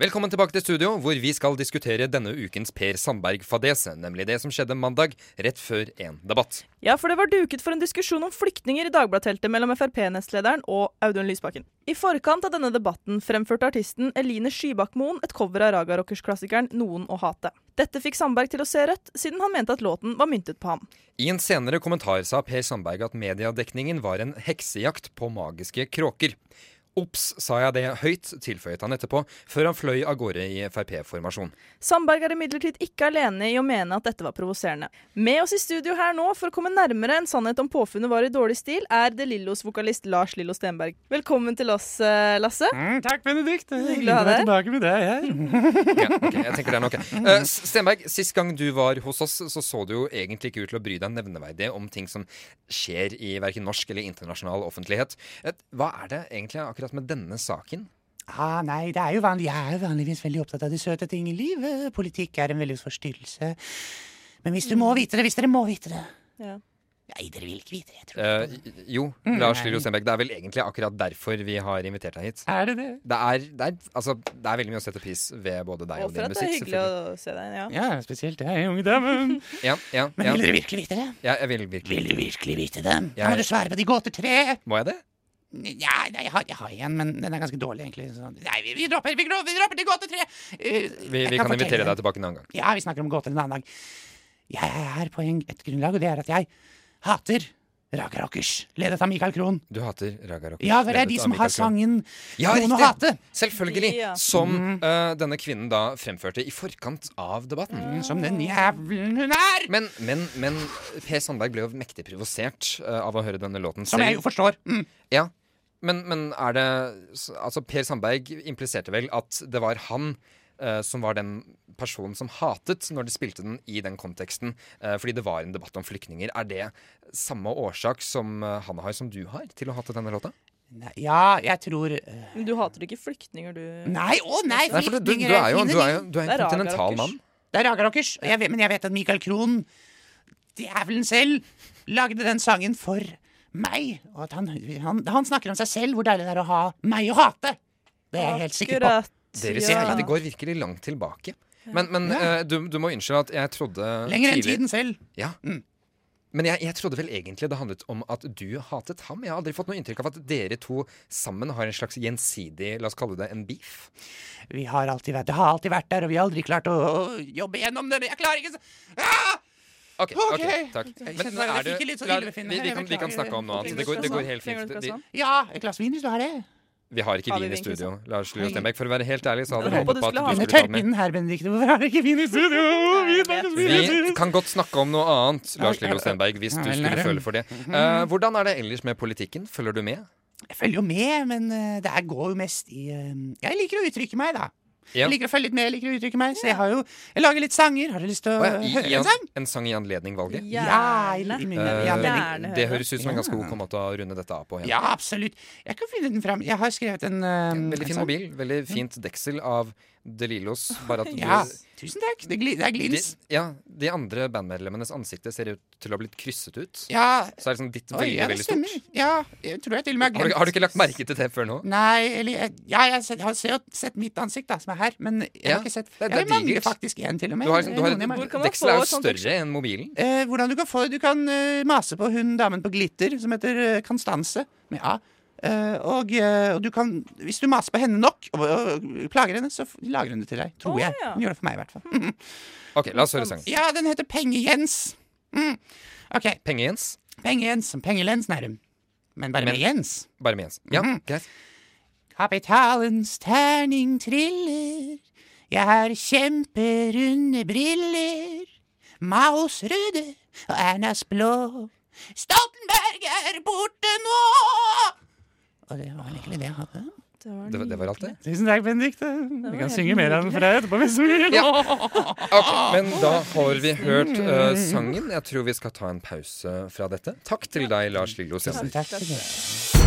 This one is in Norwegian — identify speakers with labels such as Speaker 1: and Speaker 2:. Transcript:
Speaker 1: Velkommen tilbake til studio, hvor vi skal diskutere denne ukens Per Sandberg-fadese. Nemlig det som skjedde mandag, rett før en debatt.
Speaker 2: Ja, for det var duket for en diskusjon om flyktninger i Dagbladteltet mellom Frp-nestlederen og Audun Lysbakken. I forkant av denne debatten fremførte artisten Eline Skybakmoen et cover av ragarockersklassikeren 'Noen å hate'. Dette fikk Sandberg til å se rødt, siden han mente at låten var myntet på ham.
Speaker 1: I en senere kommentar sa Per Sandberg at mediedekningen var en heksejakt på magiske kråker. Ops, sa jeg det høyt, tilføyet han etterpå, før han fløy av gårde i Frp-formasjon.
Speaker 2: Sandberg er imidlertid ikke alene i å mene at dette var provoserende. Med oss i studio her nå for å komme nærmere en sannhet om påfunnet var i dårlig stil, er De Lillos vokalist Lars Lillo Stenberg. Velkommen til oss, eh, Lasse.
Speaker 3: Mm, takk, Benedikt. Det er
Speaker 2: Hyggelig å
Speaker 3: Hyggelig å
Speaker 2: ha
Speaker 3: være
Speaker 2: deg.
Speaker 3: tilbake med deg Mm. her.
Speaker 1: Ok, ok, jeg tenker det er nok. Eh, S- Stenberg, sist gang du var hos oss, så så du jo egentlig ikke ut til å bry deg nevneverdig om ting som skjer i verken norsk eller internasjonal offentlighet. Eh, Hva er det egentlig akkurat med denne saken?
Speaker 3: Ah, nei, det er jo vanlig. Jeg er vanligvis veldig opptatt av de søte ting i livet. Politikk er en veldig forstyrrelse. Men hvis du må vite det, hvis dere må vite det
Speaker 2: Ja.
Speaker 3: Nei, dere vil ikke vite det, jeg tror.
Speaker 1: Eh, jo, Lars Lillo Stenberg, det er vel egentlig akkurat derfor vi har invitert deg hit.
Speaker 3: Er det det?
Speaker 1: Det er, det er, altså, det er veldig mye å sette pris ved både deg og,
Speaker 2: Og for
Speaker 1: din
Speaker 2: at det er
Speaker 1: musikk.
Speaker 2: hyggelig
Speaker 1: selvfølgelig.
Speaker 2: å se deg. Ja.
Speaker 3: Ja, spesielt jeg, unge damen.
Speaker 1: Ja, ja,
Speaker 3: Men
Speaker 1: ja,
Speaker 3: vil dere virkelig vite det?
Speaker 1: ja, jeg vil virkelig
Speaker 3: Vil du virkelig vite det? Da
Speaker 1: Jeg-
Speaker 3: må du svare på de gåter tre.
Speaker 1: Må jeg det?
Speaker 3: Ja, nei, jeg har, jeg har en, men den er ganske dårlig, egentlig. Så. Nei, vi, vi dropper vi, dropper- vi dropper de gåter tre. Eh,
Speaker 1: Vi, vi kan invitere deg tilbake en annen gang.
Speaker 3: Ja, vi snakker om gåter en annen dag. Jeg er her på en, et grunnlag, og det er at jeg hater Raga Rockers, ledet av Michael Krohn.
Speaker 1: Du hater Raga Rock.
Speaker 3: Ja, for det er
Speaker 1: ledet
Speaker 3: de
Speaker 1: av
Speaker 3: som har
Speaker 1: Michael Krohn.
Speaker 3: sangen
Speaker 1: Ja,
Speaker 3: Noen å
Speaker 1: riktig.
Speaker 3: hate. Mm.
Speaker 1: Selvfølgelig.
Speaker 2: Ja.
Speaker 1: Som eh, denne kvinnen da fremførte i forkant av debatten.
Speaker 2: Mm.
Speaker 3: Mm, Som den jævlen hun er!
Speaker 1: Men, men, men Per Sandberg ble jo mektig provosert eh, av å høre denne låten
Speaker 3: Som jeg jo
Speaker 1: selv.
Speaker 3: forstår. Mm.
Speaker 1: Ja. Men, men er det s- Altså, Per Sandberg impliserte vel at det var han eh, som var den personen som hatet når de spilte den i den konteksten, eh, fordi det var en debatt om flyktninger. Er det samme årsak som eh, han har, som du har, til å hate denne låta?
Speaker 3: Nei, Ja, jeg tror øh,
Speaker 2: Men du hater ikke flyktninger, du?
Speaker 3: Nei, å nei!
Speaker 1: Nei, for du, du,
Speaker 3: flyktninger
Speaker 1: du er jo,
Speaker 3: fine,
Speaker 1: du er jo
Speaker 3: de.
Speaker 1: du er
Speaker 2: Det
Speaker 1: en
Speaker 2: er
Speaker 1: kontinental
Speaker 2: ragerockers.
Speaker 1: mann.
Speaker 3: Det er Raga Rockers. og jeg vet- Men jeg vet at Michael Krohn, djevelen selv, lagde den sangen for meg. Og at han, han, han snakker om seg selv, hvor deilig det er å ha meg å hate. Det er jeg helt sikker på.
Speaker 2: Akkurat,
Speaker 1: Deres
Speaker 2: ja.
Speaker 1: hjerte går virkelig langt tilbake. Men, men eh, du, du må unnskylde at jeg trodde
Speaker 3: Lenger enn
Speaker 1: tidlig-
Speaker 3: tiden selv.
Speaker 1: Ja.
Speaker 3: Mm.
Speaker 1: Men jeg, jeg trodde vel egentlig det handlet om at du hatet ham. Jeg har aldri fått noe inntrykk av at dere to sammen har en slags gjensidig La oss kalle det en beef.
Speaker 3: Vi har alltid vært, det har alltid vært der, og vi har aldri klart å, å jobbe gjennom det. Jeg klarer ikke så ah!
Speaker 1: Ok, ok,
Speaker 3: Ok.
Speaker 1: takk.
Speaker 3: Jeg kjenner bare jeg fikk litt sånn
Speaker 1: la-
Speaker 3: illebefinnende.
Speaker 1: vi, vi,
Speaker 3: Jeg
Speaker 1: kan, vi kan
Speaker 3: beklager.
Speaker 1: snakke om noe annet. Det går, det går helt fint.
Speaker 2: Trenger du et
Speaker 1: De,
Speaker 2: glass vann?
Speaker 3: Ja, et glass vin hvis du har det.
Speaker 1: vi har ikke
Speaker 2: Har vi
Speaker 1: vin i
Speaker 2: vin, Kristian?
Speaker 1: studio, Lars Lillo Stenberg. For å være helt ærlig så hadde
Speaker 2: Jeg
Speaker 1: vi
Speaker 2: håpet
Speaker 1: håpet
Speaker 2: du
Speaker 1: på at
Speaker 2: skulle
Speaker 1: du
Speaker 2: ha
Speaker 3: Under
Speaker 1: skulle tatt med.
Speaker 3: tørkvinen her, Benedikte, hvorfor har dere ikke vin i studio? Vin, vin, vin,
Speaker 1: Vi
Speaker 3: vin.
Speaker 1: kan godt snakke om noe annet, Lars Lillo Stenberg, hvis du
Speaker 3: Ja, eller-
Speaker 1: skulle føle for det. Eh, hvordan er det ellers med politikken? Følger du med?
Speaker 3: Jeg følger jo med, men eh, det her går jo mest i eh, Jeg liker å uttrykke meg, da.
Speaker 1: Ja.
Speaker 3: Jeg liker å følge litt med, jeg liker å uttrykke meg, så jeg har jo Jeg lager litt sanger. Har dere lyst til å
Speaker 1: Å ja, i, i
Speaker 3: høre en sang?
Speaker 1: en, en sang i anledning valget?
Speaker 3: Ja, i, i min, i
Speaker 1: Eh,
Speaker 3: anledning.
Speaker 2: Gjerne
Speaker 1: det
Speaker 2: høre.
Speaker 1: høres ut som en ganske god måte å runde dette av på. Henrik.
Speaker 3: Ja, absolutt. Jeg kan finne den fram. Jeg har skrevet en eh,
Speaker 1: Veldig fin
Speaker 3: en sang.
Speaker 1: mobil. Veldig fint deksel av De Lillos. Bare at du,
Speaker 3: Ja, tusen takk. Det, gli, det er
Speaker 1: de,
Speaker 3: glins.
Speaker 1: ja, de andre bandmedlemmenes ansikter ser ut til å ha blitt krysset ut.
Speaker 3: Ja,
Speaker 1: Så er det sånn ditt
Speaker 3: Oi,
Speaker 1: veldig,
Speaker 3: ja, det
Speaker 1: veldig stort.
Speaker 3: stemmer. Ja, jeg tror jeg til og med
Speaker 1: Har du,
Speaker 3: har glemt
Speaker 1: har du ikke lagt merke til det før nå?
Speaker 3: Nei, eller jeg, Ja, jeg, har sett- jeg har ser jo sett mitt ansikt, da, som er her, men jeg
Speaker 1: Ja,
Speaker 3: har ikke sett
Speaker 1: det- det
Speaker 3: Jeg
Speaker 1: er
Speaker 3: mangler
Speaker 1: digert.
Speaker 3: faktisk én, til og med.
Speaker 1: Du har, liksom- du har,
Speaker 3: Noen jeg mangler.
Speaker 2: hvor kan man
Speaker 1: dekselet er
Speaker 2: få
Speaker 1: jo
Speaker 2: sånn
Speaker 1: større enn mobilen.
Speaker 3: Eh, hvordan du kan få Du kan eh, mase på hun damen på glitter som heter Konstanse, med A. Eh, og, eh, og du kan Hvis du maser på henne nok og, og plager henne, så f- lager hun det til deg. Tror
Speaker 2: Å,
Speaker 3: jeg.
Speaker 2: ja. Hm.
Speaker 3: Hun gjør det for meg, i hvert fall. Mm.
Speaker 1: Ok, la oss høre sangen.
Speaker 3: Ja, den heter Penge-Jens. Mm. OK.
Speaker 1: Penge-Jens.
Speaker 3: Penge-Jens som Penge-Lens Nærum. Men bare
Speaker 1: Men-
Speaker 3: med Jens.
Speaker 1: Bare med Jens. Ja,
Speaker 3: Mhm.
Speaker 1: greit.
Speaker 3: Kapitalens terning triller. Jeg har kjemperunde briller. Maos røde og Ernas blå. Stoltenberg er borte nå! Og det var egentlig det jeg hadde.
Speaker 1: Det, var- det var alt, det.
Speaker 3: Tusen takk, Benedicte. Vi
Speaker 2: helt
Speaker 3: kan synge mer av den for deg etterpå hvis du vil. Ah!
Speaker 1: Ok, Men da har vi hørt eh, sangen. Jeg tror vi skal ta en pause fra dette. Takk til deg, Lars Lillo Sender.
Speaker 3: Tusen takk. for det.